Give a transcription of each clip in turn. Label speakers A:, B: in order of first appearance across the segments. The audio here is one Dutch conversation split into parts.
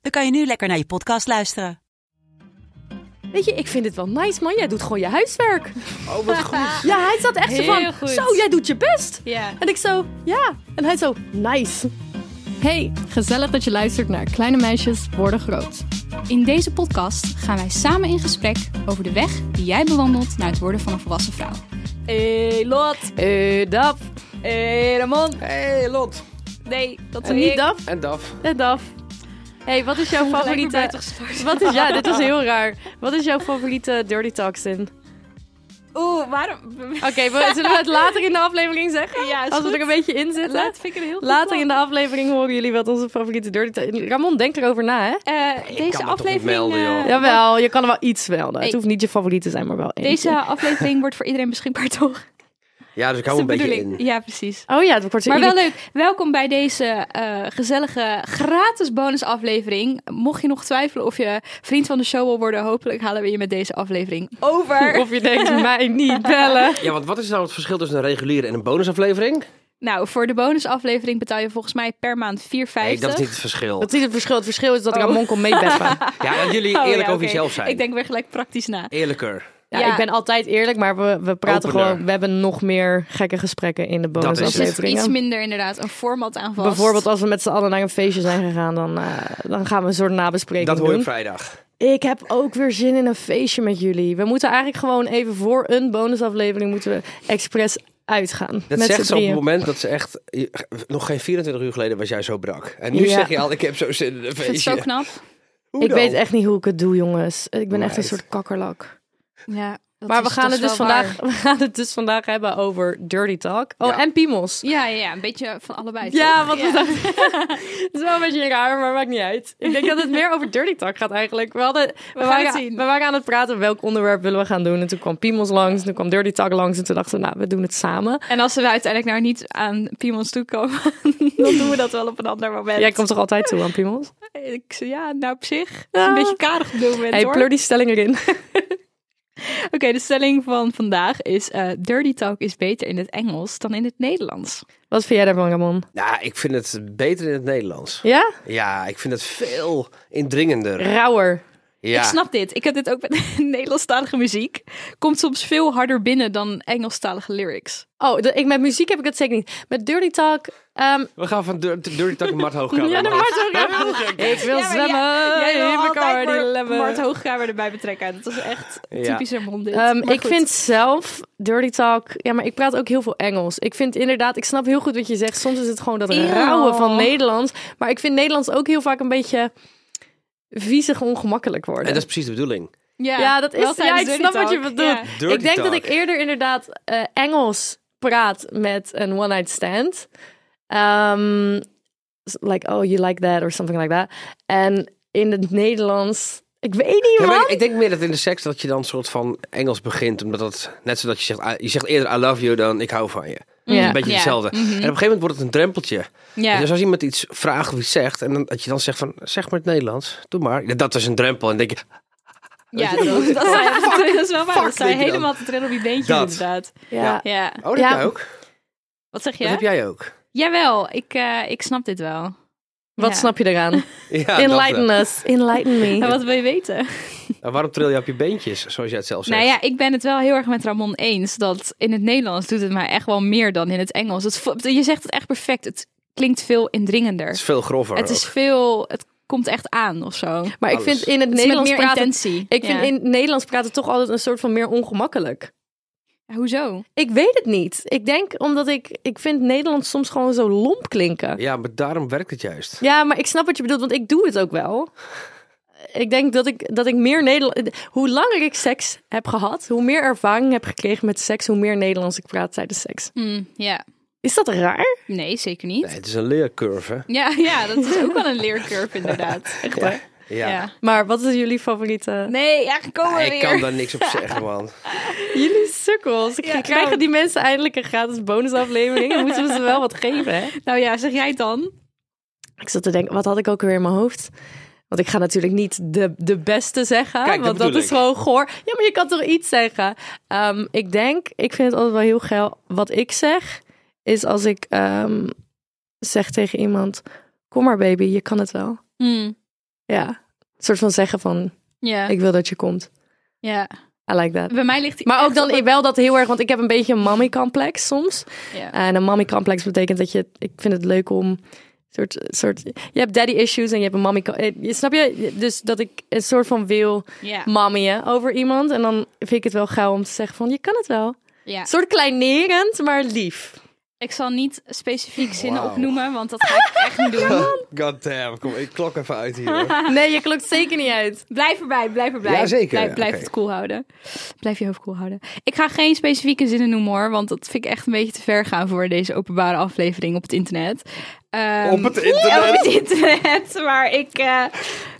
A: dan kan je nu lekker naar je podcast luisteren.
B: Weet je, ik vind het wel nice, man. Jij doet gewoon je huiswerk.
C: Oh, wat goed.
B: Ja, hij zat echt zo
C: Heel
B: van,
C: goed.
B: zo, jij doet je best.
C: Ja.
B: En ik zo, ja. En hij zo, nice.
D: Hey, gezellig dat je luistert naar Kleine Meisjes Worden Groot. In deze podcast gaan wij samen in gesprek over de weg die jij bewandelt naar het worden van een volwassen vrouw.
B: Hey, Lot. Hey, Daf. Hey, Ramon.
E: Hey Lot.
C: Nee, dat
B: En
C: doe
B: Eh, niet
C: ik.
B: Daf.
E: En Daf.
B: En Daf. hey, wat is jouw
C: Gelijk
B: favoriete...
C: buitengesloten.
B: Wat is, ja, dit is heel raar. Wat is jouw favoriete Dirty Toxin?
C: Oeh, waarom?
B: Oké, we- zullen we het later in de aflevering zeggen?
C: Ja, is
B: Als we
C: goed.
B: er een beetje in zitten.
C: Laat vind ik een heel goed
B: Later in
C: plan.
B: de aflevering horen jullie wat onze favoriete Dirty Toxin... Ramon, denk erover na, hè?
C: Eh, deze
E: toch niet
C: aflevering.
E: melden,
C: eh,
E: joh.
B: Jawel, je kan er wel iets wel. Het
C: Hey.
B: hoeft niet je favoriet te zijn, maar wel eentje.
C: Deze aflevering wordt voor iedereen beschikbaar, toch?
E: Ja, dus ik
C: Dat
E: hou
C: is
E: een
C: de
E: beetje
C: bedoeling.
E: in.
C: Ja, precies.
B: Oh ja, het wordt zo
C: Maar wel
B: ieder-
C: leuk. Welkom bij deze eh, gezellige gratis bonusaflevering. Mocht je nog twijfelen of je vriend van de show wil worden, hopelijk halen we je met deze aflevering over.
B: Of je denkt, mij niet bellen.
E: Ja, want wat is nou het verschil tussen een reguliere en een bonusaflevering?
C: Nou, voor de bonusaflevering betaal je volgens mij per maand 4,50.
E: Nee, dat is niet het verschil.
B: Dat is het verschil. Het verschil is dat
C: Oh.
B: Ramon kon meebeffen.
E: Ja, dat jullie
C: Oh,
E: eerlijk
C: ja,
E: over
C: oké.
E: jezelf zijn.
C: Ik denk weer gelijk praktisch na.
E: Eerlijker.
B: Ja,
C: Ja.
B: ik ben altijd eerlijk, maar we, we praten
E: Opener.
B: gewoon... We hebben nog meer gekke gesprekken in de
E: is het.
C: Er zit iets
B: bonusafleveringen.
C: minder inderdaad een format aan vast.
B: Bijvoorbeeld als we met z'n allen naar een feestje zijn gegaan, dan, eh, dan gaan we een soort nabespreking
E: Dat hoor je
B: doen.
E: op vrijdag.
B: Ik heb ook weer zin in een feestje met jullie. We moeten eigenlijk gewoon even voor een bonusaflevering moeten we expres uitgaan.
E: Dat
B: met z'n
E: zegt ze op het
B: drieën.
E: moment dat ze echt... je- Nog geen 24 uur geleden was jij zo brak. En nu
B: Ja.
E: zeg je al, ik heb zo zin in een
C: Dat is zo
E: feestje.
C: knap.
E: Hoe
B: Ik
E: dan?
B: weet echt niet hoe ik het doe, jongens. Ik ben echt een
E: Meid.
B: soort kakkerlak.
C: Ja, dat
B: maar
C: is-
B: we gaan,
C: dat is
B: het dus
C: wel
B: vandaag,
C: waar.
B: we gaan het dus vandaag hebben over Dirty Talk. Oh,
E: Ja.
B: en piemels.
C: Ja, ja, ja, een beetje van allebei.
B: Ja,
C: toch?
B: want we dachten... het is wel een beetje raar, maar maakt niet uit. Ik denk dat het meer over Dirty Talk gaat eigenlijk. We, hadden, we, waren,
C: het zien.
B: we waren aan het praten welk onderwerp willen we gaan doen. En toen kwam piemels langs, en toen kwam Dirty Talk langs. En toen dachten we, nou, we doen het samen.
C: En als we uiteindelijk nou niet aan Piemons toekomen, dan doen we dat wel op een ander moment.
B: Jij komt toch altijd toe aan piemels?
C: Ik zei ja, nou op zich. Het is
B: Ja.
C: Een beetje karig op dit moment
B: hey,
C: hoor.
B: pleur die stelling erin.
C: Oké, de stelling van vandaag is eh, Dirty Talk is beter in het Engels dan in het Nederlands.
B: Wat vind jij daarvan, Ramon?
E: Nou, ik vind het beter in het Nederlands.
B: Ja?
E: Ja, ik vind het veel indringender.
B: Rauwer.
E: Ja.
C: Ik snap dit. Ik heb dit ook met Nederlandstalige muziek. Komt soms veel harder binnen dan Engelstalige lyrics.
B: Oh, de- ik, met muziek heb ik dat zeker niet. Met Dirty Talk... ehm,
E: We gaan van Dirty Dirty Talk en Mart Hoogkamer.
B: ja, dat
E: omhoog.
B: wordt zo Ik wil
C: Ja, maar
B: zwemmen
C: jij wil
B: in mijn
C: altijd
B: Cardi
C: Mar-
B: Lemon.
C: Mart Hoogkamer erbij betrekken. Dat is echt
E: Ja.
C: typisch Ramon dit.
B: Ehm,
C: Maar
B: ik
C: goed.
B: vind zelf dirty talk. Ja, maar ik praat ook heel veel Engels. Ik vind inderdaad, ik snap heel goed wat je zegt. Soms is het gewoon dat
C: Eeuw.
B: rauwe van Nederlands. Maar ik vind Nederlands ook heel vaak een beetje viezig ongemakkelijk worden.
E: En dat is precies de bedoeling.
C: Ja,
B: ja, dat
C: wel
B: is. Ja,
C: tijdens
B: ik
C: Dirty
B: snap wat je
C: Talk.
B: bedoelt.
C: Ja.
E: Dirty
B: ik denk dat
E: talk.
B: ik eerder inderdaad eh, Engels praat met een one night stand. Ehm, like, oh, you like that or something like that. En in het Nederlands, ik weet niet,
E: Ja,
B: man.
E: maar ik, ik denk meer dat in de seks dat je dan soort van Engels begint. Omdat dat net zodat je zegt, ah, je zegt eerder I love you dan ik hou van je.
B: Ja.
E: Een beetje
C: Ja. Mhm.
E: hetzelfde. En op een gegeven moment wordt het een drempeltje.
C: Ja.
E: Dus als iemand iets vraagt of iets zegt. En dan, dat je dan zegt van, zeg maar het Nederlands. Doe maar. Ja, dat is een drempel. En dan denk je,
C: Ja, dat, dat, zijn- dat is wel waar.
E: dus- fuck,
C: Dat zijn
E: denk je dan.
C: helemaal te trillen op je beentjes
E: Dat.
C: inderdaad.
B: ja.
C: Ja.
E: oh dat
B: Ja.
E: heb jij ook.
C: Wat zeg je?
E: Dat heb jij ook.
C: Jawel, ik, eh, ik snap dit wel.
B: Wat
C: Ja.
B: snap je eraan?
E: Ja,
B: Enlighten
E: dat,
B: us. Enlighten me.
C: En Nou, wat wil je weten?
E: eh, nou, waarom tril je op je beentjes, zoals jij het zelf zegt?
C: Nou ja, ik ben het wel heel erg met Ramon eens dat in het Nederlands doet het mij echt wel meer dan in het Engels. Het, vo- je zegt het echt perfect. Het klinkt veel
E: Het is
C: indringender.
E: veel grover
C: Het is
E: ook.
C: veel, het komt echt aan of zo. Het
B: Maar ik
E: alles.
B: vind in het
C: is met
B: Nederlands
C: meer
B: praten...
C: intentie.
B: Ik vind
C: Ja.
B: in het Nederlands praten toch altijd een soort van meer ongemakkelijk.
C: Ja, Hoezo?
B: Ik weet het niet. Ik denk omdat ik... Ik vind Nederlands soms gewoon zo lomp klinken.
E: Ja, maar daarom werkt het juist.
B: Ja, maar ik snap wat je bedoelt, want ik doe het ook wel. Ik denk dat ik, dat ik meer Nederlands... Hoe langer ik seks heb gehad, hoe meer ervaring heb gekregen met seks, hoe meer Nederlands ik praat tijdens seks.
C: Hm, ja.
B: Is dat raar?
C: Nee, zeker niet.
E: Nee, het is een leercurve. hè?
C: Ja, ja, dat is ook wel een leercurve inderdaad.
B: Echt waar?
E: Ja.
C: Ja.
B: Maar wat is jullie favoriete?
C: Nee, ja, komen
E: Ah,
C: we
E: ik
C: weer.
E: kan daar niks op zeggen, man.
B: Jullie sukkels.
C: Ja,
B: Krijgen
C: nou-
B: die mensen eindelijk een gratis bonusaflevering? Dan moeten we ze wel wat geven, hè?
C: Nou ja, zeg jij het dan?
B: Ik zat te denken, wat had ik ook weer in mijn hoofd? Want ik ga natuurlijk niet de, de beste zeggen,
E: Kijk, dat
B: want dat
E: bedoel
B: is
E: ik.
B: gewoon goor. Ja, maar je kan toch iets zeggen? Ehm, ik denk, ik vind het altijd wel heel geil. Wat ik zeg, is als ik ehm, zeg tegen iemand... Kom maar baby, je kan het wel. Ja, een soort van zeggen van,
C: Ja,
B: ik wil dat je komt.
C: ja.
B: I like that.
C: Bij mij ligt die
B: Maar
C: echt
B: ook dan
C: op
B: ik wel dat heel erg, want ik heb een beetje een mommy-complex soms. Eh,
C: het- Ja.
B: En een mommy-complex betekent dat je, ik vind het leuk om soort, soort, je hebt daddy-issues en je hebt een mommy, eh, je- snap je? Dus dat ik een soort van wil
C: Ja.
B: mammyen over iemand en dan vind ik het wel gauw om te zeggen van, je kan het wel.
C: Ja.
B: Een soort kleinerend, maar lief.
C: Ik zal niet specifiek zinnen
E: Wauw.
C: opnoemen, want dat ga ik echt niet doen.
E: God damn, kom, ik klok even uit hier. hoor.
B: Nee, je klokt zeker niet uit.
C: Blijf erbij, blijf erbij.
E: Ja, zeker.
C: Blijf,
E: Ja,
C: blijf
E: oké.
C: het cool houden. Blijf je hoofd cool houden. Ik ga geen specifieke zinnen noemen hoor, want dat vind ik echt een beetje te ver gaan voor deze openbare aflevering op het internet. Ehm,
E: Op het
C: Ja, op
E: internet.
C: het internet. Maar ik, eh,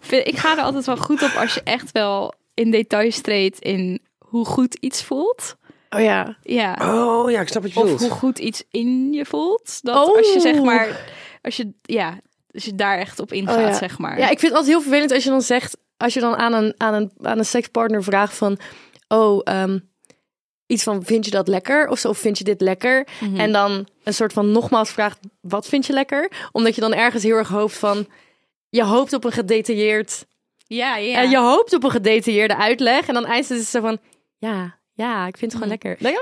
C: vind, ik ga er altijd wel goed op als je echt wel in detail treedt in hoe goed iets voelt.
B: Oh ja.
C: Ja.
E: Oh ja, ik snap wat je
C: Of
E: bedoelt.
C: hoe goed iets in je voelt. Dat
B: Oh.
C: als je zeg maar, als je, ja, als je daar echt op ingaat,
B: Oh ja.
C: zeg maar.
B: Ja, ik vind het altijd heel vervelend als je dan zegt, als je dan aan een, aan een, aan een sekspartner vraagt van, oh, ehm, iets van, vind je dat lekker? Of zo, of vind je dit lekker?
E: Mhm.
B: En dan een soort van nogmaals vraagt, wat vind je lekker? Omdat je dan ergens heel erg hoopt van, je hoopt op een gedetailleerd,
C: ja, ja.
B: en je hoopt op een gedetailleerde uitleg. En dan eindigt ze zo van, ja, ja, ik vind het gewoon lekker. Dan-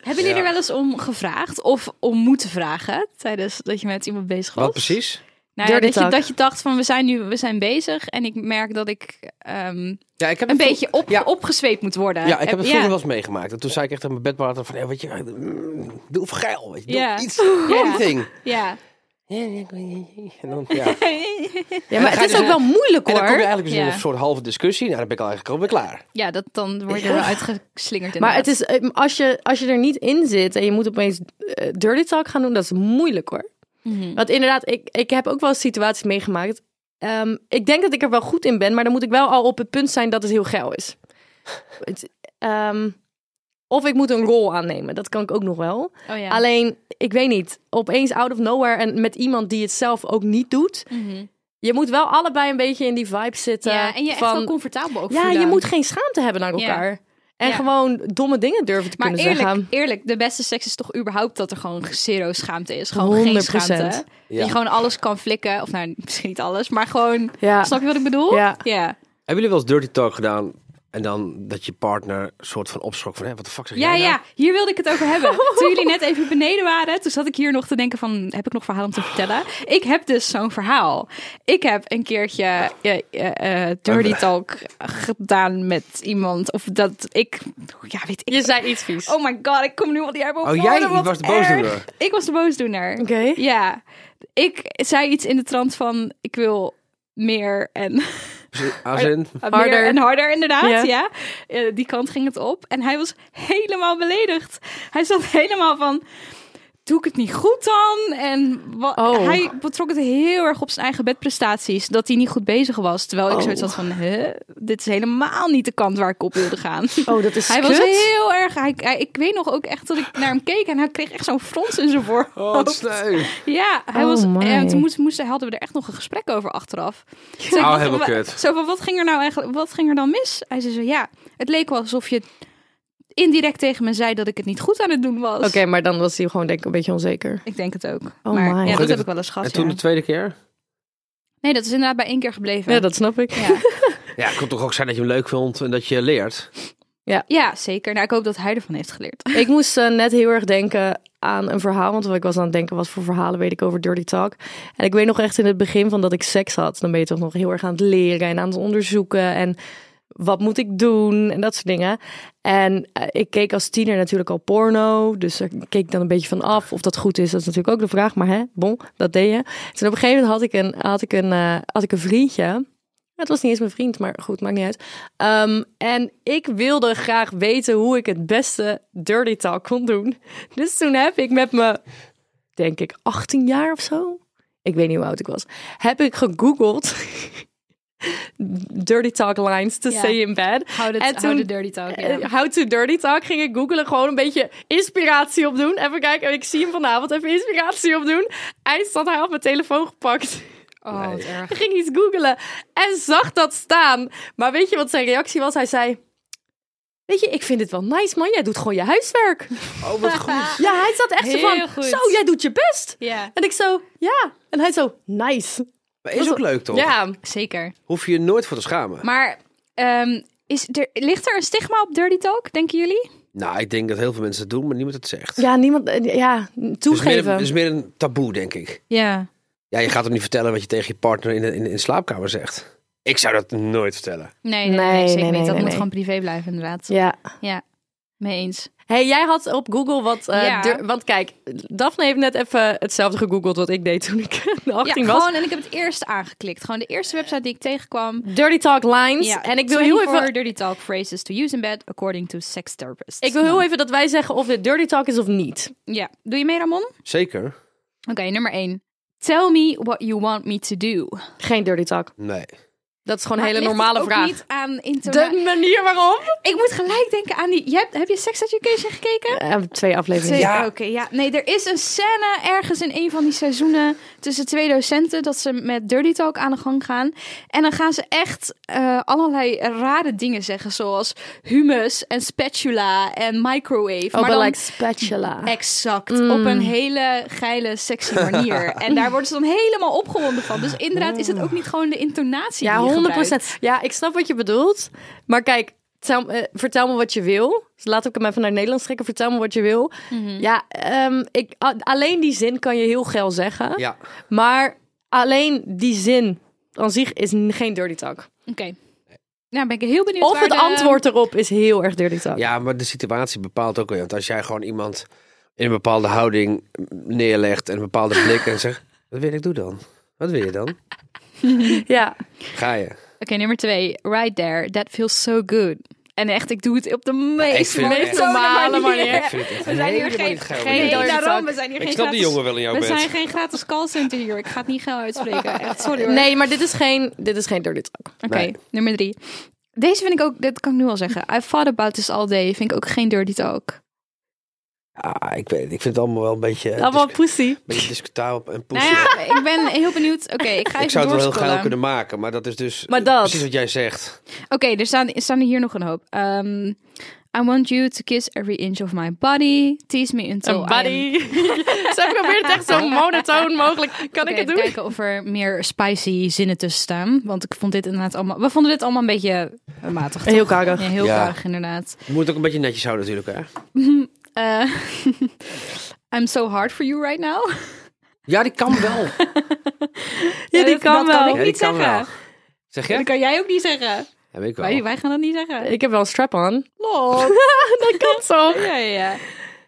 C: Hebben jullie
E: Mhm. Ja.
C: er wel eens om gevraagd of om moeten vragen tijdens dat je met iemand bezig was?
E: Wat precies?
C: Nou ja,
B: Dirty
C: dat, je,
B: talk.
C: dat je dacht van we zijn nu we zijn bezig en ik merk dat ik ehm,
E: Ja, ik heb
C: een
E: het
C: beetje op,
E: ja.
C: opgezweept moet worden.
E: eh, Ja, ik heb het
C: ja.
E: vroeger wel eens meegemaakt. En toen zei ik echt aan mijn bedpartner van, hey, weet je, mm, doe even geil, weet je, doe
C: Ja.
E: iets,
C: Ja.
E: anything.
C: Ja.
E: En dan, ja.
B: Ja, maar het
E: ga je
B: is
E: dus
B: ook wel moeilijk
E: En dan kom je
B: hoor.
E: eigenlijk dus in
C: Ja.
E: een soort halve discussie. Nou, dan ben ik al eigenlijk alweer klaar.
C: ja, dat dan word je er wel uitgeslingerd.
B: Maar het
C: inderdaad.
B: is, eh, als je, als je er niet in zit en je moet opeens eh, dirty talk gaan doen, dat is moeilijk hoor.
C: Mhm.
B: Want inderdaad, ik, ik heb ook wel eens situaties meegemaakt. Ehm, ik denk dat ik er wel goed in ben, maar dan moet ik wel al op het punt zijn dat het heel geil is. Het, ehm, of ik moet een rol aannemen, dat kan ik ook nog wel.
C: oh, ja.
B: Alleen, ik weet niet, opeens out of nowhere en met iemand die het zelf ook niet doet.
C: Mhm.
B: Je moet wel allebei een beetje in die vibe zitten.
C: ja, en je echt
B: eh, van,
C: wel comfortabel ook
B: Ja,
C: voelen.
B: je moet geen schaamte hebben naar
C: Ja.
B: elkaar. En
C: Ja.
B: gewoon domme dingen durven te
C: Maar
B: kunnen
C: eerlijk,
B: zeggen.
C: eerlijk, de beste seks is toch überhaupt dat er gewoon zero schaamte is. Gewoon geen
B: 100%.
C: schaamte. Dat
E: Ja.
C: Je gewoon alles kan flikken. Of nou, misschien niet alles, maar gewoon...
B: Ja.
C: Snap je wat ik bedoel?
B: Ja.
C: Ja,
E: Hebben jullie wel eens dirty talk gedaan en dan dat je partner soort van opschrok van, hé, wat de fuck zeg
C: ja,
E: jij nou?
C: ja, hier wilde ik het over hebben. Toen jullie net even beneden waren, toen zat ik hier nog te denken van... heb ik nog verhaal om te vertellen? Ik heb dus zo'n verhaal. Ik heb een keertje eh, eh, eh, dirty talk gedaan met iemand. Of dat ik... Ja, weet ik
B: Je zei iets vies.
C: Oh my god, ik kom nu al die hebben
E: Oh, jij was de boosdoener.
C: Ik was de boosdoener.
B: Oké.
C: Ja. Ik zei iets in de trant van, ik wil meer en
E: Als in,
B: Harder.
C: Meer en harder, inderdaad.
B: Ja.
C: Ja. Eh, die kant ging het op. En hij was helemaal beledigd. Hij zat helemaal van. Doe ik het niet goed dan? En wa-
B: Oh.
C: hij betrok het heel erg op zijn eigen bedprestaties. Dat hij niet goed bezig was. Terwijl ik
B: Oh.
C: zoiets had van, huh? dit is helemaal niet de kant waar ik op wilde gaan.
B: Oh, dat is
C: Hij
B: kut.
C: was heel erg... Hij, hij- ik weet nog ook echt dat ik naar hem keek en hij kreeg echt zo'n frons in zijn voorhoofd.
E: oh, wat sneu.
C: Ja, hij
B: Oh
C: was.
B: my.
C: En toen moesten, moesten, hadden we er echt nog een gesprek over achteraf. Toen zei ik,
E: Oh,
C: wat-
E: helemaal
C: wa-
E: kut.
C: Zo van, wat ging er nou eigenlijk? Wat ging er dan mis? Hij zei zo, ja, het leek wel alsof je indirect tegen me zei dat ik het niet goed aan het doen was.
B: Oké, maar dan was hij gewoon denk ik een beetje onzeker.
C: Ik denk het ook.
B: Oh my.
C: maar ja, dat
E: Gelukkig-
C: heb ik wel eens
E: En
C: gehad.
E: toen
C: ja.
E: de tweede keer?
C: Nee, dat is inderdaad bij één keer gebleven.
B: Ja, dat snap ik.
C: ja.
E: Ja, het kon toch ook zijn dat je hem leuk vond en dat je leert.
C: Ja, zeker. Nou, ik hoop dat hij ervan heeft geleerd.
B: Ik moest eh, net heel erg denken aan een verhaal. Want ik was aan het denken, wat voor verhalen weet ik over Dirty Talk. En ik weet nog echt in het begin van dat ik seks had. Dan ben je toch nog heel erg aan het leren en aan het onderzoeken. En wat moet ik doen? En dat soort dingen. En eh, ik keek als tiener natuurlijk al porno. Dus daar keek ik dan een beetje van af. Of dat goed is, dat is natuurlijk ook de vraag. Maar hè, bon, dat deed je. Toen op een gegeven moment had ik een, had ik een, eh, had ik een vriendje. Het was niet eens mijn vriend, maar goed, maakt niet uit. Ehm, en ik wilde graag weten hoe ik het beste dirty talk kon doen. Dus toen heb ik met mijn denk ik, 18 jaar of zo. Ik weet niet hoe oud ik was. Heb ik gegoogeld. Dirty talk lines to
D: Ja.
B: say in bed.
D: Houd het,
B: En
D: houd
B: toen-
D: de dirty talk. Ja.
B: Eh, How to Dirty Talk ging ik googelen. Gewoon een beetje inspiratie opdoen. Even kijken, ik zie hem vanavond. Even inspiratie opdoen. Eindstand, hij had mijn telefoon gepakt.
C: Oh, wat erg.
B: ging iets googelen en zag dat staan. Maar weet je wat zijn reactie was? Hij zei... Weet je, ik vind het wel nice, man. Jij doet gewoon je huiswerk.
E: Oh, wat goed.
B: Ja, hij zat echt zo
D: Heel
B: van...
D: goed.
B: Zo, jij doet je best.
D: Ja.
B: En ik zo... Ja. En hij zo... Nice.
E: Maar is ook leuk, toch?
B: Ja.
C: Zeker.
E: Hoef je je nooit voor te schamen.
C: Maar ehm, is er, ligt er een stigma op dirty talk, denken jullie?
E: Nou, ik denk dat heel veel mensen het doen, maar niemand het zegt.
B: Ja, niemand... eh, Ja,
E: Het is meer,
B: toegeven.
E: een- het is meer een taboe, denk ik.
C: Ja.
E: Ja, je gaat hem niet vertellen wat je tegen je partner in de, in, de- in de slaapkamer zegt. Ik zou dat nooit vertellen.
C: Nee, nee, nee,
B: Nee,
C: zeker
B: nee,
C: niet.
B: nee,
C: Dat
B: nee,
C: moet
B: nee.
C: gewoon privé blijven, inderdaad.
B: Ja.
C: Mee eens.
B: Hey, jij had op Google wat... eh,
C: Ja.
B: dur- want kijk, Daphne heeft net even hetzelfde gegoogeld wat ik deed toen ik 18
C: ja,
B: was.
C: gewoon, en ik heb het eerst aangeklikt. Gewoon de eerste website die ik tegenkwam.
B: Dirty Talk Lines. en ik wil heel even...
C: dirty talk phrases to use in bed according to sex therapists.
B: Ik wil heel even dat wij zeggen of dit dirty talk is of niet.
C: Ja. Doe je mee, Ramon? Oké,
E: Zeker?
C: nummer 1. Tell me what you want me to do.
B: Geen dirty talk.
E: Nee.
B: Dat is gewoon een hele normale vraag.
C: niet aan
B: De manier waarop?
C: Ik moet gelijk denken aan die... Je hebt, heb je Sex Education gekeken?
B: twee afleveringen.
C: Ja. Oké, ja. Nee, er is een scène ergens in een van die seizoenen tussen twee docenten dat ze met Dirty Talk aan de gang gaan. En dan gaan ze echt eh, allerlei rare dingen zeggen, zoals humus en spatula en microwave.
B: Ook
C: maar
B: wel
C: dan
B: like spatula.
C: exact
B: Mm.
C: op een hele geile, sexy manier. en daar worden ze dan helemaal opgewonden van. Dus inderdaad is het ook niet gewoon de intonatie die je
B: Ja, 100%.
C: gebruikt.
B: Ja, ik snap wat je bedoelt. Maar kijk, tel- eh, vertel me wat je wil. Dus laat ik hem even naar het Nederlands trekken. Vertel me wat je wil.
C: Mhm.
B: Ja, ehm, ik, a- alleen die zin kan je heel geil zeggen.
E: Ja.
B: Maar alleen die zin aan zich is n- geen dirty talk.
C: Oké. Nou, ben ik heel benieuwd
B: Of
C: waar
B: het
C: de-
B: antwoord erop is heel erg dirty talk.
E: ja, maar de situatie bepaalt ook weer. Want als jij gewoon iemand in een bepaalde houding neerlegt en een bepaalde blik en zegt... Wat wil ik doen dan? Wat wil je dan?
B: ja.
E: Ga je.
C: Oké, nummer twee. Right there. That feels so good. En echt, ik doe het op de meest,
E: vind het
C: meest
E: echt-
B: normale
C: normale manier.
B: manier.
E: Ik vind het echt
C: We zijn hier
E: helemaal
C: geen,
E: niet geil.
C: geen
B: Nee,
C: daarom,
B: daarom,
C: we zijn hier
E: Ik
C: geen
E: snap
B: dus
E: die
C: gratis-
E: jongen wel in jouw
C: We
E: bed.
C: zijn geen gratis callcenter hier. Ik ga het niet geil uitspreken. Echt, sorry hoor.
B: Nee, maar dit is geen, dit is geen dirty talk.
C: Oké,
E: Nee.
C: nummer drie. Deze vind ik ook, dat kan ik nu al zeggen. I've thought about this all day. Vind ik ook geen dirty talk.
E: Ah, ik weet het. Ik vind het allemaal wel een beetje, eh,
B: Allemaal
E: dis-
B: pussy.
E: een beetje discutabel en
C: Nou
E: poesje.
C: ja, ik ben heel benieuwd. Oké, ik ga
E: ik
C: even
E: zou het wel heel
C: doorscrollen.
E: gaaf kunnen maken, maar dat is dus
B: Maar dat-
E: precies wat jij zegt.
C: Oké, er staan, er staan hier nog een hoop. Ehm, I want you to kiss every inch of my body. Tease me
B: Oh,
C: until I am
B: Buddy. Ze probeert het echt zo monotoon mogelijk. Kan ik
C: Oké,
B: het doen?
C: Kijken of er meer spicy zinnen tussen staan. Want ik vond dit inderdaad allemaal. We vonden dit allemaal een beetje eh, matig. toch?
B: Heel karig.
C: Ja, heel
E: Ja.
C: karig, inderdaad.
E: Je moet het ook een beetje netjes houden natuurlijk, hè?
C: Eh, I'm so hard for you right now.
E: Ja, die kan wel.
B: Ja, die kan
C: dat- dat kan
B: wel.
C: ik.
E: Ja, die
C: niet
E: kan
C: zeggen.
E: wel. Zeg
C: Dat
E: je?
C: kan jij ook niet zeggen.
E: Heb ik wel.
C: Wij, wij gaan dat niet zeggen.
B: Ik heb wel een strap on.
C: Lol.
B: dat kan zo.
C: ja, ja, ja.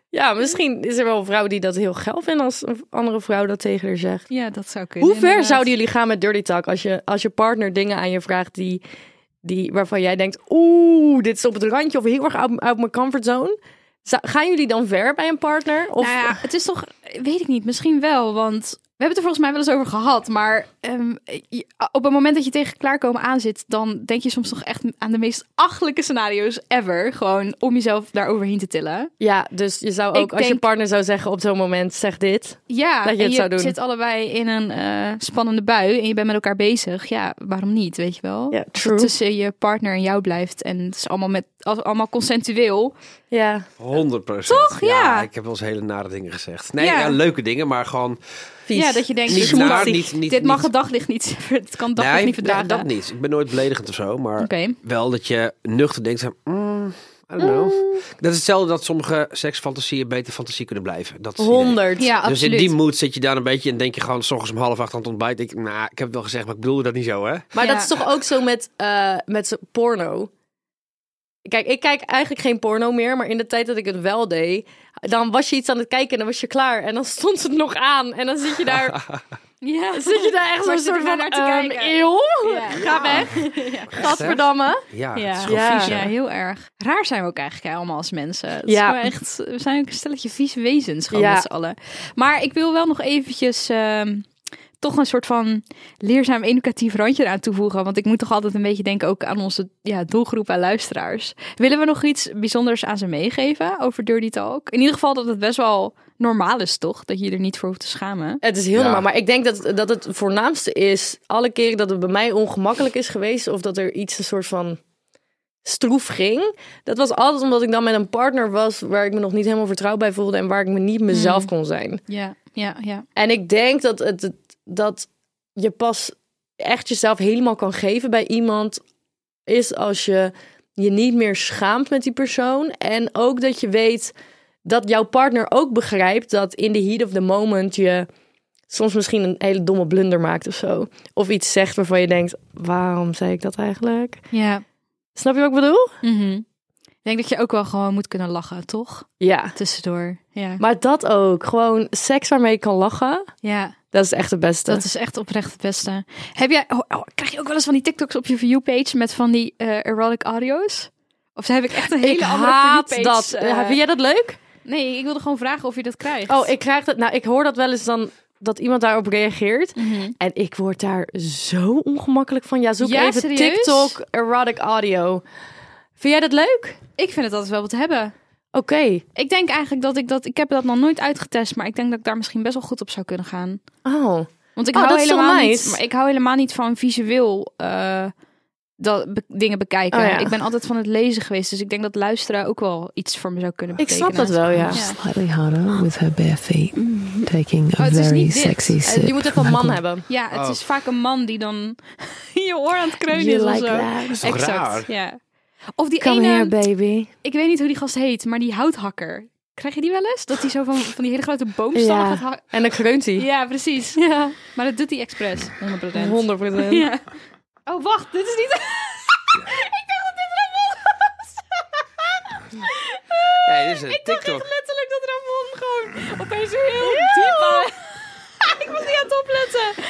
B: Ja, misschien is er wel een vrouw die dat heel geil vindt als een andere vrouw dat tegen haar zegt.
C: ja, dat zou kunnen.
B: Hoe ver
C: inderdaad.
B: zouden jullie gaan met dirty talk als je, als je partner dingen aan je vraagt die, die, waarvan jij denkt, oeh, dit is op het randje of heel erg uit, uit mijn comfortzone? Zou- gaan jullie dan ver bij een partner? Of,
C: Nou ja, het is toch, weet ik niet, misschien wel, want we hebben het er volgens mij wel eens over gehad, maar ehm, je- op het moment dat je tegen klaarkomen aan zit, dan denk je soms toch echt aan de meest achtelijke scenario's ever, gewoon om jezelf daar overheen te tillen.
B: ja, dus je zou ook,
C: Ik
B: als je
C: denk-
B: partner zou zeggen op zo'n moment, zeg dit.
C: Ja,
B: Dat je
C: en
B: het zou doen.
C: zit allebei in een eh, spannende bui en je bent met elkaar bezig, ja, waarom niet, weet je wel?
B: Ja,
C: Als het
B: true.
C: Tussen je partner en jou blijft en het is allemaal, met, als- allemaal consensueel.
B: Ja.
E: 100 procent.
C: Toch? Ja.
E: Ik heb wel eens hele nare dingen gezegd. Nee,
C: Ja.
E: ja. leuke dingen, maar gewoon
B: Vies.
C: Ja, dat je denkt,
E: niet
C: smoesig.
E: naar, niet, niet,
C: dit mag
E: niet,
C: het daglicht niet, het kan het
E: Nee,
C: daglicht niet verdragen.
E: nee, dat niet. Ik ben nooit beledigend of zo, maar
C: Oké.
E: wel dat je nuchter denkt. Mm, I don't know.
C: Mm.
E: Dat is hetzelfde dat sommige seksfantasieën beter fantasie kunnen blijven. Dat is het idee.
B: 100.
C: Ja, absoluut.
E: Dus in die mood zit je daar een beetje en denk je gewoon... 's ochtends om half acht aan het ontbijt. Denk ik, nou, ik heb het wel gezegd, maar ik bedoelde dat niet zo, hè?
B: Maar
C: Ja.
B: dat is toch ook zo met, eh, met zo- porno? Kijk, ik kijk eigenlijk geen porno meer, maar in de tijd dat ik het wel deed, dan was je iets aan het kijken en dan was je klaar. En dan stond het nog aan en dan zit je daar,
C: Ja,
B: zit je daar echt
C: Waar
B: zo'n
C: zit
B: soort
C: ik
B: van,
C: nou naar te
B: ehm,
C: kijken?
B: eeuw?
C: Ja.
B: ga weg. Gadverdamme.
E: Ja,
C: Ja.
E: het is gewoon
B: Ja.
E: vies, hè?
C: Ja, heel erg. Raar zijn we ook eigenlijk hè, allemaal als mensen. Het
B: Ja.
C: ja. echt, we zijn ook een stelletje vies wezens gewoon
B: Ja.
C: met z'n allen. Maar ik wil wel nog eventjes ehm, toch een soort van leerzaam educatief randje eraan toevoegen. Want ik moet toch altijd een beetje denken ook aan onze ja, doelgroep aan luisteraars. Willen we nog iets bijzonders aan ze meegeven over Dirty Talk? In ieder geval dat het best wel normaal is toch? Dat je je er niet voor hoeft te schamen.
B: Het is heel
E: Ja.
B: normaal, maar ik denk dat, dat het voornaamste is... alle keren dat het bij mij ongemakkelijk is geweest... of dat er iets een soort van stroef ging. Dat was altijd omdat ik dan met een partner was... waar ik me nog niet helemaal vertrouwd bij voelde... en waar ik me niet mezelf kon zijn.
C: Ja, ja, ja.
B: En ik denk dat, het, het- dat je pas echt jezelf helemaal kan geven bij iemand... is als je je niet meer schaamt met die persoon. En ook dat je weet dat jouw partner ook begrijpt... dat in the heat of the moment je soms misschien een hele domme blunder maakt of zo. Of iets zegt waarvan je denkt, waarom zei ik dat eigenlijk?
C: ja.
B: Snap je wat ik bedoel?
C: mhm. Ik denk dat je ook wel gewoon moet kunnen lachen, toch?
B: Ja.
C: Tussendoor. Ja.
B: Maar dat ook. Gewoon seks waarmee je kan lachen.
C: ja.
B: Dat is echt het beste.
C: Dat is echt oprecht het beste. Heb jij, oh, oh, krijg je ook wel eens van die TikToks op je view-page met van die eh, erotic audio's? Of heb ik echt een hele
B: ik
C: andere
B: haat
C: view-page,
B: dat.
C: eh,
B: Ja, vind jij dat leuk?
C: Nee, ik wilde gewoon vragen of je dat krijgt.
B: Oh, ik krijg dat. Nou, ik hoor dat wel eens dan dat iemand daarop reageert.
C: Mhm.
B: En ik word daar zo ongemakkelijk van. Ja, zoek
C: Ja,
B: even
C: serieus?
B: TikTok erotic audio. Vind jij dat leuk?
C: Ik vind het altijd wel wat te hebben.
B: Oké.
C: Ik denk eigenlijk dat ik dat... Ik heb dat nog nooit uitgetest, maar ik denk dat ik daar misschien best wel goed op zou kunnen gaan.
B: Oh.
C: Want ik
B: Oh,
C: hou
B: dat is toch
C: helemaal
B: nice?
C: niet. Maar ik hou helemaal niet van visueel eh, dat, be- dingen bekijken.
B: Oh, ja.
C: Ik ben altijd van het lezen geweest, dus ik denk dat luisteren ook wel iets voor me zou kunnen
B: Ik
C: betekenen.
B: snap dat wel, ja.
C: Ja.
F: slightly harder with her bare feet, taking a
C: Oh, het is
F: very
C: niet dit.
F: sexy
B: Eh,
F: sip.
B: Je moet even een man hebben.
C: Ja, het
E: Oh.
C: is vaak een man die dan in je oor aan het kreunen is
B: You
C: of zo.
B: that?
E: Dat is toch raar?
C: ja. Of die
B: Come
C: ene,
B: here, baby.
C: ik weet niet hoe die gast heet, maar die houthakker. Krijg je die wel eens? Dat hij zo van, van die hele grote boomstammen
B: Ja.
C: gaat hakken?
B: En dan kreunt hij.
C: Ja, precies. Maar dat doet hij expres, 100%.
B: 100
C: Ja. Oh, wacht, dit is niet... ik dacht dat dit Ramon was.
E: Nee, dit is een
C: ik dacht echt
E: TikTok.
C: letterlijk dat Ramon gewoon opeens heel diep... aan- ik was niet aan het opletten.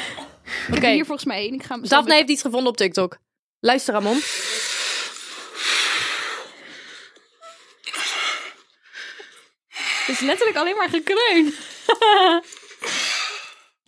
C: Oké.
B: Oké.
C: hier volgens mij één. Ik ga hem zo
B: Daphne heeft iets gevonden op TikTok. Luister, Ramon.
C: Het is dus letterlijk alleen maar gekreun.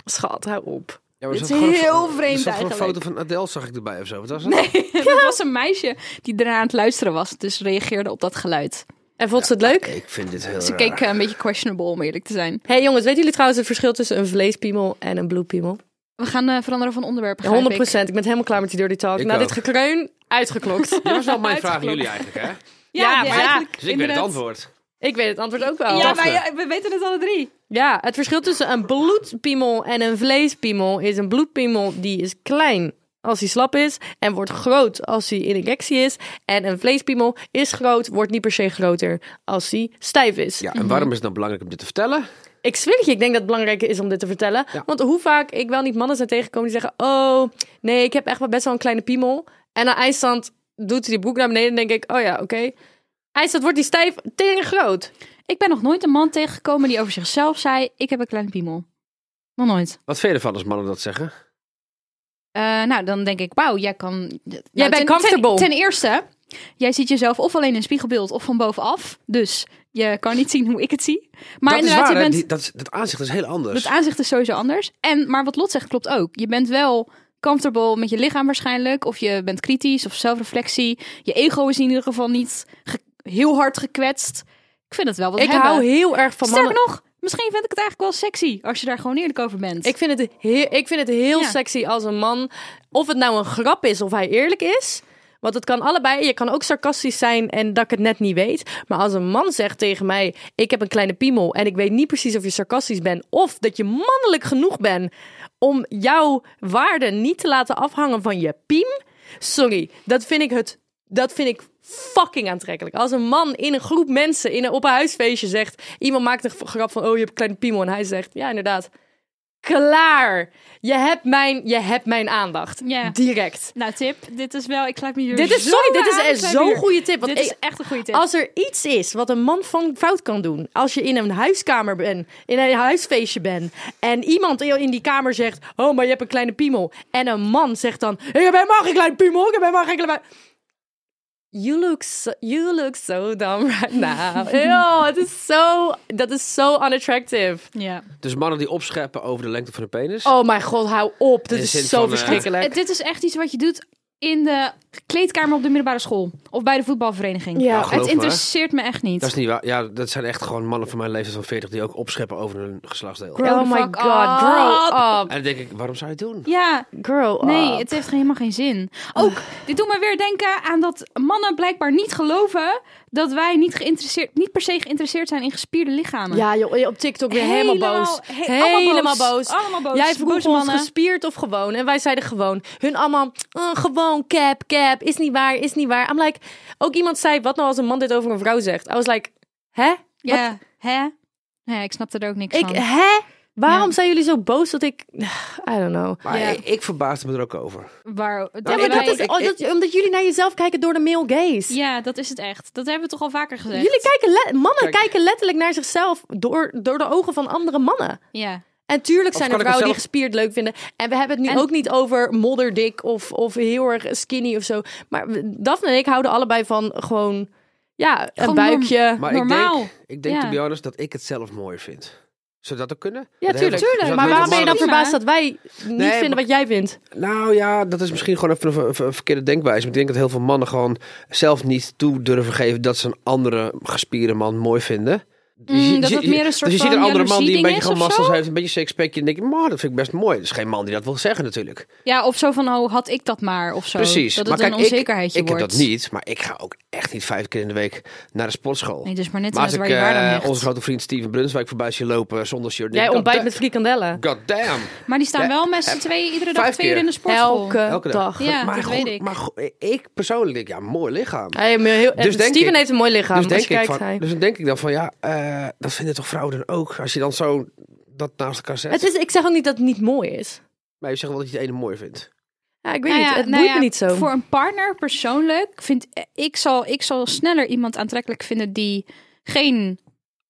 B: Schat, hou op.
E: Ja, maar
C: Dit
E: zat
C: is
E: gewoon een
C: heel
E: fo-
C: vreemd
E: Er zat gewoon een
C: eigenlijk.
E: foto van Adele zag ik erbij of zo. Wat was dat? Nee.
C: dat was een meisje die eraan aan het luisteren was, dus reageerde op dat geluid.
B: En vond ze het leuk?
E: Ik vind dit heel
C: Ze
E: raar.
C: keek eh, een beetje questionable, om eerlijk te zijn.
B: hey, jongens, weten jullie trouwens het verschil tussen een vleespiemel en een bloedpiemel?
C: We gaan eh, veranderen van onderwerp.
B: Ja,
C: begrijp
B: 100
C: ik.
B: procent. Ik ben helemaal klaar met die dirty talk.
E: Ik
B: Na
E: ook.
B: dit gekreun, uitgeklokt.
E: Dat was wel mijn vraag aan jullie eigenlijk, hè?
C: Ja,
B: Ja,
C: ja,
B: maar ja.
C: eigenlijk,
E: Dus ik weet
C: inderdaad.
E: het antwoord.
B: ik weet het antwoord ook wel.
C: Ja,
B: Ja,
E: Daphne.
C: wij- eh, we weten het alle drie.
B: het verschil tussen een bloedpiemel en een vleespiemel is een bloedpiemel die is klein als hij slap is en wordt groot als hij in injectie is. En een vleespiemel is groot, wordt niet per se groter als hij stijf is.
E: Ja, en waarom is het dan belangrijk om dit te vertellen?
B: Ik zweer het je, ik denk dat het belangrijk is om dit te vertellen.
E: Ja.
B: Want hoe vaak ik wel niet mannen zijn tegengekomen die zeggen... oh, nee, ik heb echt wel best wel een kleine piemel. En aan eindstand doet hij die broek naar beneden en denk ik... oh ja, oké. Eindstand wordt die stijf tegen groot.
C: Ik ben nog nooit een man tegengekomen die over zichzelf zei: Ik heb een kleine piemel. Nog nooit.
E: Wat vind je ervan als mannen dat zeggen?
C: Eh, nou, dan denk ik: Wauw, jij kan. nou,
B: bent
C: ten-
B: comfortable.
C: Ten, ten eerste, jij ziet jezelf of alleen in een spiegelbeeld of van bovenaf. Dus je kan niet zien hoe ik het zie. Maar
E: dat is
C: inderdaad,
E: waar, hè?
C: je bent.
E: Die- dat, is- dat aanzicht is heel anders.
C: Het aanzicht is sowieso anders. En, maar wat Lot zegt klopt ook. Je bent wel comfortable met je lichaam waarschijnlijk. Of je bent kritisch of zelfreflectie. Je ego is in ieder geval niet ge- heel hard gekwetst. Ik vind het wel wat
B: ik
C: hebben.
B: hou heel erg van
C: Sterker
B: mannen.
C: nog, misschien vind ik het eigenlijk wel sexy. Als je daar gewoon eerlijk over bent.
B: Ik vind, het heel, ik vind het heel
C: Ja.
B: sexy als een man... of het nou een grap is of hij eerlijk is... Want het kan allebei. Je kan ook sarcastisch zijn en dat ik het net niet weet. Maar als een man zegt tegen mij: Ik heb een kleine piemel. en ik weet niet precies of je sarcastisch bent. of dat je mannelijk genoeg bent. om jouw waarde niet te laten afhangen van je piem. Sorry, dat vind ik het. Dat vind ik fucking aantrekkelijk. Als een man in een groep mensen in een, op een huisfeestje zegt: Iemand maakt een grap van: Oh, je hebt een kleine piemel. en hij zegt: Ja, inderdaad. klaar. Je hebt mijn, je hebt mijn aandacht.
C: Ja.
B: Direct.
C: Nou, tip. Dit is wel... Ik klap me hier
B: Dit is,
C: zo
B: sorry, dit is
C: aan. Ik
B: echt
C: klap
B: zo'n
C: hier-
B: goede tip. Want
C: Dit is
B: ik-
C: echt een goede tip.
B: als er iets is wat een man van fout kan doen, als je in een huiskamer bent, in een huisfeestje bent, en iemand in die kamer zegt, oh, maar je hebt een kleine piemel. En een man zegt dan, ik heb helemaal geen kleine piemel, ik heb helemaal geen kleine... You look so, you look so dumb right now. Ew, het is zo, dat is zo unattractive.
C: Ja.
E: Dus mannen die opscheppen over de lengte van hun penis.
B: Oh mijn god, hou op. Dit
E: In de
B: is
E: zin
B: zo
E: van, eh,
B: verschrikkelijk.
C: Eh, Dit is echt iets wat je doet in de kleedkamer op de middelbare school. Of bij de voetbalvereniging.
B: ja,
E: geloof
C: Het
E: me,
C: interesseert me echt niet.
E: Dat is niet waar. Ja, dat zijn echt gewoon mannen van mijn leeftijd van 40 die ook opscheppen over hun geslachtsdeel.
C: Grow
B: oh
C: the
B: my
C: fuck
B: god,
C: up.
B: grow up.
E: En dan denk ik, waarom zou je het doen?
C: Ja,
B: Grow up.
C: Nee, het heeft helemaal geen zin. Ook, dit doet me weer denken aan dat mannen blijkbaar niet geloven dat wij niet, geïnteresseerd, niet per se geïnteresseerd zijn in gespierde lichamen.
B: Ja joh, op TikTok weer helemaal, boos.
C: he-
B: helemaal boos.
C: Allemaal boos.
B: Jij vroeg
C: Boze
B: ons gespierd of gewoon. En wij zeiden gewoon. Hun allemaal, "Eh, gewoon, cap, cap. Is niet waar, is niet waar. I'm like, ook iemand zei, wat nou als een man dit over een vrouw zegt? I was like, hè?
C: Ja, hè? Nee, ik snapte er ook niks
B: Ik, eh,
C: van.
B: hè? Waarom
C: Ja.
B: zijn jullie zo boos dat ik... I don't know.
E: Maar
C: Ja.
E: ik, ik verbaasde me er ook over.
C: Waar,
B: Ja, maar
C: wij-
B: dat is,
E: ik-
B: oh, dat- omdat jullie naar jezelf kijken door de male gaze.
C: ja, dat is het echt. Dat hebben we toch al vaker gezegd.
B: Jullie kijken, le- mannen
E: Kijk.
B: kijken letterlijk naar zichzelf door, door de ogen van andere mannen.
C: Ja.
B: En tuurlijk zijn er
E: kan ik het
B: vrouwen die
E: zelf-
B: gespierd leuk vinden. En we hebben het nu
C: En-
B: ook niet over modderdik of, of heel erg skinny of zo. Maar we- Daphne en ik houden allebei van gewoon, ja, een
C: Gewoon
B: buikje.
E: Maar
C: Normaal.
E: ik denk, ik denk
C: Ja.
E: to be honest, dat ik het zelf mooier vind. Zou dat ook kunnen?
B: Ja,
E: Dat heel
B: tuurlijk.
E: veel-
C: Tuurlijk,
E: dus dat
B: Maar
E: heel
B: waarom
E: veel
B: ben je dan
E: mannen-
C: Prima.
B: verbaasd dat wij niet
E: Nee,
B: vinden
E: maar-
B: wat jij vindt?
E: Nou ja, dat is misschien gewoon even een, ver- een verkeerde denkwijze. Maar ik denk dat heel veel mannen gewoon zelf niet toe durven geven dat ze een andere gespierde man mooi vinden. Dus
C: Mm,
E: je-
C: dat
E: je-
C: het meer een
E: dus
C: soort
E: je ziet
C: van
E: een andere man die een
C: jaloezie-ding
E: beetje
C: is
E: gewoon
C: of
E: masters
C: zo?
E: heeft, een beetje sekspekje. En denk ik, maar dat vind ik best mooi. Dat is geen man die dat wil zeggen natuurlijk.
C: ja, of zo van, oh, had ik dat maar, of zo.
E: Precies.
C: Dat het
E: maar kijk,
C: een
E: ik-
C: onzekerheidje
E: ik,
C: wordt.
E: heb dat niet, maar ik ga ook echt niet vijf keer in de week naar de sportschool.
C: Nee, dus maar net
E: maar als
C: net
E: ik
C: waar je waarde aan
E: eh,
C: hecht.
E: onze grote vriend Steven Brunswijk voorbij zie lopen zonder shirt. denk
B: Jij
E: ik,
B: ontbijt
E: "God
B: met frikandellen.
E: da- God damn.
C: Maar die staan
E: Ja, eh,
C: wel met z'n tweeën iedere dag
E: vijf
C: twee uur
E: keer.
C: in de sportschool.
B: Elke,
E: Elke dag.
B: dag.
C: Ja,
E: maar
C: dat
E: goed-
C: weet ik.
E: Maar goed, ik persoonlijk denk, ja, mooi lichaam.
B: Hij heeft een heel,
E: Dus denk
B: Steven
E: ik-
B: heeft een mooi lichaam. als
E: dus, denk
B: je
E: ik
B: kijkt,
E: van,
B: hij.
E: dus dan denk ik dan van, ja, eh, dat vinden toch vrouwen dan ook? Als je dan zo dat naast elkaar zet.
B: Het is, ik zeg ook niet dat het niet mooi is.
E: Maar je zegt wel dat je het ene mooi vindt.
B: Ja, ik weet
C: Nou
B: niet,
C: ja,
B: het
C: nou
B: boeit
C: ja,
B: me niet zo.
C: Voor een partner persoonlijk vind eh, ik zal, ik zal sneller iemand aantrekkelijk vinden die geen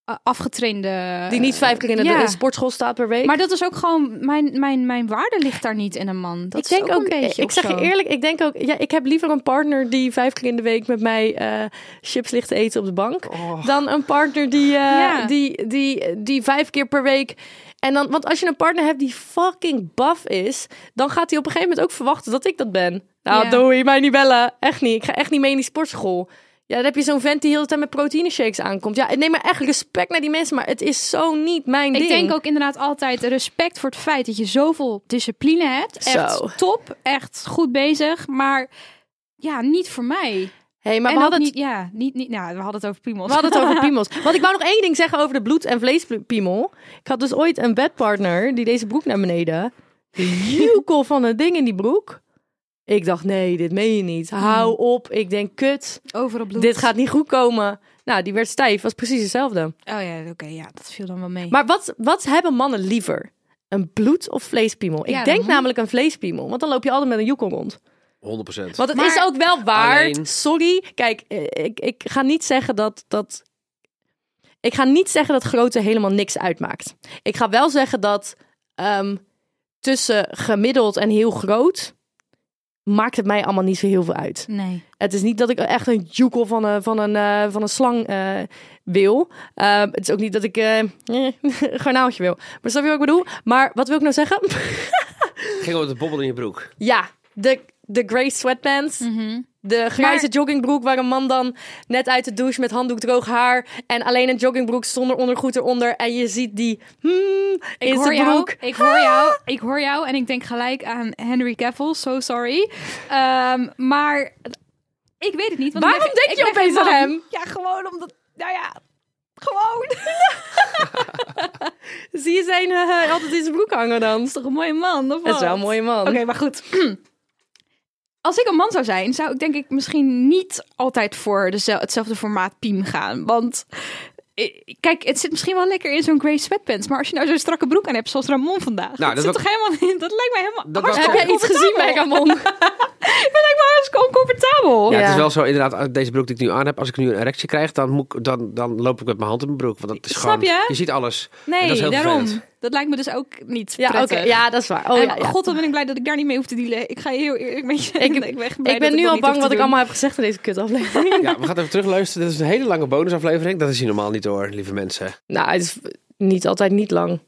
C: eh, afgetrainde.
B: Die niet vijf keer in de
C: Ja.
B: in de sportschool staat per week.
C: Maar dat is ook gewoon mijn, mijn, mijn waarde ligt daar niet in een man. Dat
B: ik denk eh,
C: is ook, een beetje.
B: ik
C: of
B: zeg je
C: zo.
B: eerlijk, ik denk ook, ja, ik heb liever een partner die vijf keer in de week met mij eh, chips ligt te eten op de bank,
E: Oh.
B: dan een partner die, eh,
C: Ja.
B: die, die, die vijf keer per week. En dan, want als je een partner hebt die fucking baf is, dan gaat hij op een gegeven moment ook verwachten dat ik dat ben. Nou,
C: Ja.
B: doei, mij niet bellen, echt niet. Ik ga echt niet mee in die sportschool. Ja, dan heb je zo'n vent die heel de tijd met proteïne shakes aankomt. Ja, nee, maar echt respect naar die mensen, maar het is zo niet mijn
C: Ik
B: ding.
C: denk ook inderdaad altijd respect voor het feit dat je zoveel discipline hebt. Echt
B: Zo.
C: top, echt goed bezig, maar ja, niet voor mij.
B: Hey, maar
C: en
B: we
C: ook
B: hadden het
C: niet, ja, niet, niet, nou, we hadden het over piemels.
B: We hadden het over piemels. Want ik wou nog één ding zeggen over de bloed- en vleespiemel. Ik had dus ooit een bedpartner die deze broek naar beneden. Joekel van een ding in die broek. Ik dacht, nee, dit meen je niet. Hou op. Ik denk, kut,
C: Overal Hmm. bloed.
B: dit gaat niet goed komen. Nou, die werd stijf. Was precies hetzelfde.
C: Oh ja, oké, ja, dat viel dan wel mee.
B: Maar wat, wat hebben mannen liever? Een bloed- of vleespiemel? Ik
C: Ja,
B: denk
C: dat moet.
B: namelijk een vleespiemel. Want dan loop je altijd met een joekel rond.
E: 100%.
B: Want het
C: Maar-
B: is ook wel waard.
E: Alleen-
B: Sorry. Kijk, eh, ik, ik ga niet zeggen dat, dat. Ik ga niet zeggen dat grootte helemaal niks uitmaakt. Ik ga wel zeggen dat ehm, tussen gemiddeld en heel groot. maakt het mij allemaal niet zo heel veel uit.
C: nee.
B: Het is niet dat ik echt een joekel van een, van een, eh, van een slang eh, wil. Eh, het is ook niet dat ik eh, een garnaaltje wil. Maar snap je wat ik bedoel? Maar wat wil ik nou zeggen?
E: Ging over de bobbel in je broek.
B: ja, de, de grey sweatpants. De grijze
C: Mhm. Maar-
B: joggingbroek waar een man dan net uit de douche met handdoek droog haar en alleen een joggingbroek zonder ondergoed eronder en je ziet die hmm,
C: Ik
B: in
C: hoor
B: zijn
C: jou.
B: broek. Ah!
C: Ik hoor jou. Ik hoor jou. En ik denk gelijk aan Henry Cavill. So sorry. Ehm, maar ik weet het niet. Want ik
B: Waarom
C: ben-
B: denk
C: ik
B: je
C: ben
B: opeens
C: geen
B: aan
C: man.
B: hem?
C: Ja, gewoon omdat. Nou ja, gewoon. Dat
B: Zie je zijn eh, altijd in zijn broek hangen dan?
C: is toch een mooie man? Of
B: Dat is wel
C: wat?
B: een mooie man.
C: Oké, maar goed. Als ik een man zou zijn, zou ik denk ik misschien niet altijd voor dezel- hetzelfde formaat piem gaan. Want eh, Kijk, het zit misschien wel lekker in zo'n grey sweatpants. Maar als je nou zo'n strakke broek aan hebt, zoals Ramon vandaag.
E: Nou,
C: dat,
E: dat
C: zit toch helemaal in. Dat lijkt mij helemaal.
E: Dat
C: Dat
E: was-
B: Heb
E: Kom,
B: jij iets gezien bij Ramon?
C: Ik ben eigenlijk wel hartstikke oncomfortabel.
E: Ja, het
B: Ja.
E: is wel zo inderdaad, als deze broek die ik nu aan heb, als ik nu een erectie krijg, dan, moet ik, dan, dan loop ik met mijn hand in mijn broek. Want dat is
C: Snap
E: gewoon,
C: je?
E: ziet alles. En dat is
C: Nee,
E: heel
C: daarom.
E: vervelend.
C: Dat lijkt me dus ook niet
B: Ja, oké.
C: prettig.
B: Ja, dat is waar. Oh,
C: En
B: ja, ja.
C: God, wat ben ik blij dat ik daar niet mee hoef te dealen. Ik ga heel eerlijk met je.
B: Ik-
C: ben echt blij
B: ik ben
C: dat
B: nu
C: dat
B: al
C: niet hoef
B: bang
C: te
B: wat ik
C: doen.
B: allemaal heb gezegd in deze kutaflevering.
E: Ja, we gaan even terugluisteren. Dit is een hele lange bonusaflevering. Dat is hier normaal niet hoor, lieve mensen.
B: nou, het is niet altijd niet lang.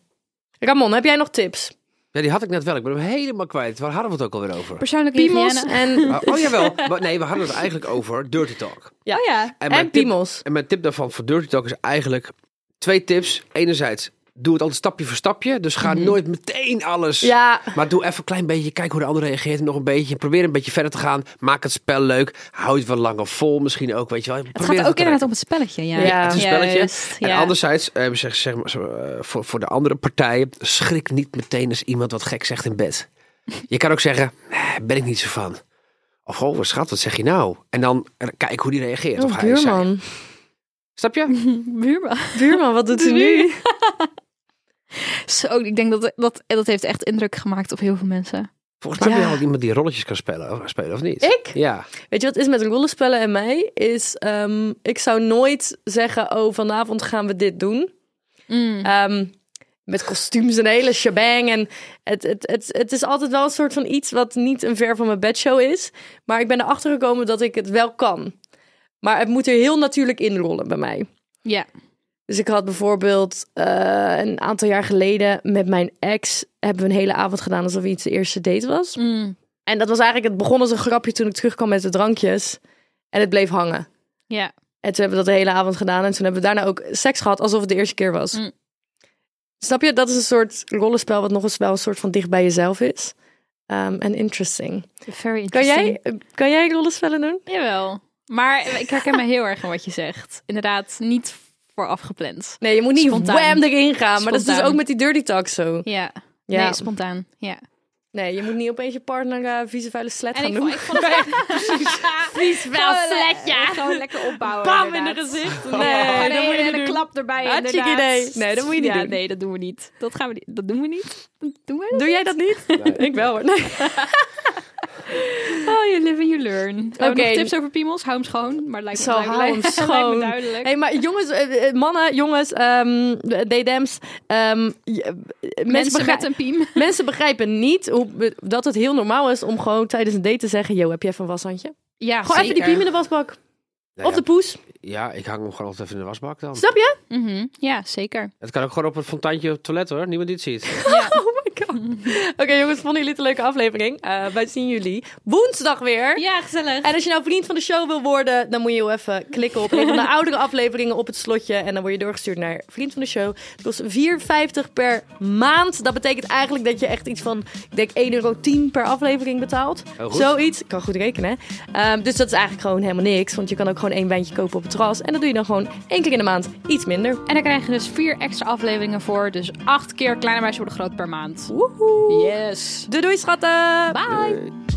B: Ramon, heb jij nog tips?
E: Ja, die had ik net wel. Ik ben hem helemaal kwijt. Waar hadden we het ook alweer over?
C: Persoonlijke
B: Piemels
C: hygiëne.
B: en,
E: Ah, oh jawel. Maar nee, we hadden het eigenlijk over dirty talk.
B: ja.
C: Oh ja.
E: En
B: en
E: mijn, tip,
B: piemels.
E: en mijn tip daarvan voor dirty talk is eigenlijk twee tips. Enerzijds, doe het altijd stapje voor stapje. Dus
C: Mhm.
E: ga nooit meteen alles.
B: Ja,
E: Maar doe even een klein beetje, kijk hoe de ander reageert en nog een beetje. Probeer een beetje verder te gaan. Maak het spel leuk. Hou het wat langer vol misschien ook, weet je wel.
C: Het
E: Probeer
C: gaat ook
E: te
C: inderdaad om het spelletje. Ja,
B: Ja,
E: het is een spelletje.
C: Juist,
E: En
C: ja.
E: anderzijds, eh, zeg, zeg maar, zo, eh, voor, voor de andere partij, schrik niet meteen als iemand wat gek zegt in bed. Je kan ook zeggen, "Eh, ben ik niet zo van. Of, oh, wat schat, wat zeg je nou? En dan eh, kijk hoe die reageert. of
B: oh,
E: hij is saai.
B: buurman.
E: Snap je?
C: Buurman.
B: Buurman, wat doet hij nu?
C: Zo, ik denk dat, dat dat heeft echt indruk gemaakt op heel veel mensen.
E: Volgens mij
B: Ja.
E: ben je al iemand die rolletjes kan spelen, of, spelen, of niet?
B: Ik?
E: Ja.
B: Weet je wat is met rollenspellen en mij? Is, ehm, ik zou nooit zeggen, oh, vanavond gaan we dit doen. Ehm, met kostuums en hele shebang. En het, het, het, het is altijd wel een soort van iets wat niet een ver van mijn bedshow is. Maar ik ben erachter gekomen dat ik het wel kan. Maar het moet er heel natuurlijk inrollen bij mij.
C: Ja.
B: Dus ik had bijvoorbeeld eh, een aantal jaar geleden met mijn ex... hebben we een hele avond gedaan alsof iets de eerste date was. En dat was eigenlijk, het begon als een grapje toen ik terugkwam met de drankjes. En het bleef hangen.
C: Ja.
B: En toen hebben we dat de hele avond gedaan. En toen hebben we daarna ook seks gehad alsof het de eerste keer was.
C: Mm.
B: Snap je? Dat is een soort rollenspel wat nog eens wel een soort van dicht bij jezelf is. Ehm, En interesting.
C: Very
B: Kan jij, kan jij rollenspellen doen?
C: Jawel. Maar ik herken me heel erg aan wat je zegt. Inderdaad, niet vooraf gepland.
B: Nee, je moet niet
C: Spontaan.
B: wham erin gaan. Maar dat is dus
C: Spontaan.
B: ook met die dirty talk zo.
C: Ja.
B: Ja.
C: Nee, spontaan. Ja.
B: Nee, je moet niet opeens je partner eh, vieze vuile slet gaan
C: ik
B: doen.
C: vond, ik vond het Precies.
B: wel slet, ja.
C: Gewoon lekker opbouwen.
B: Bam in de
C: inderdaad.
B: gezicht. Nee,
C: Nee,
B: dat moet je niet
C: een
B: doen.
C: klap erbij
B: Hartstikke
C: inderdaad.
B: idee. Nee, dat moet je niet
C: ja,
B: doen.
C: Nee, dat doen we niet. Dat gaan we niet. Dat doen we niet. Dat doen we
B: Doe jij dat niet? ik wel hoor. Nee.
C: Oh, you live and you learn. Oké.
B: Oké.
C: tips over piemels? Hou hem schoon. Maar lijkt me,
B: Zo, hou
C: lijkt, lijkt-
B: hem
C: lijkt me
B: schoon.
C: duidelijk.
B: Hey, maar jongens, eh, eh, mannen, jongens, ehm DDM's, ehm, je- eh, mensen,
C: Mensen
B: begrij-
C: met een piem.
B: mensen begrijpen niet hoe, dat het heel normaal is om gewoon tijdens een date te zeggen: Yo, heb je even een washandje?
C: Ja,
B: Gewoon even die piem in de wasbak. Of de poes.
E: Ja, ik hang hem gewoon altijd even in de wasbak dan.
B: Snap je?
C: Ja, zeker.
E: Het kan ook gewoon op een fonteintje op het toilet hoor. Niemand die het ziet.
B: Oh my god. Oké, jongens, vonden jullie het een leuke aflevering? Eh, wij zien jullie woensdag weer.
C: Ja, gezellig.
B: En als je nou vriend van de show wil worden, dan moet je heel even klikken op een van de oudere afleveringen op het slotje. En dan word je doorgestuurd naar vriend van de show. Het kost 4,50 per maand. Dat betekent eigenlijk dat je echt iets van, ik denk 1,10 euro per aflevering betaalt.
E: Heel goed.
B: Zoiets. Ik kan goed rekenen. hè. Ehm, dus dat is eigenlijk gewoon helemaal niks. Want je kan ook gewoon één wijntje kopen op het terras. En dat doe je dan gewoon één keer in de maand iets minder.
C: En daar krijg je dus vier extra afleveringen voor. Dus acht keer Kleine Meisje Worden Groot per maand.
B: Woehoe.
C: Yes.
B: Doei doei schatten.
C: Bye.
E: Eh,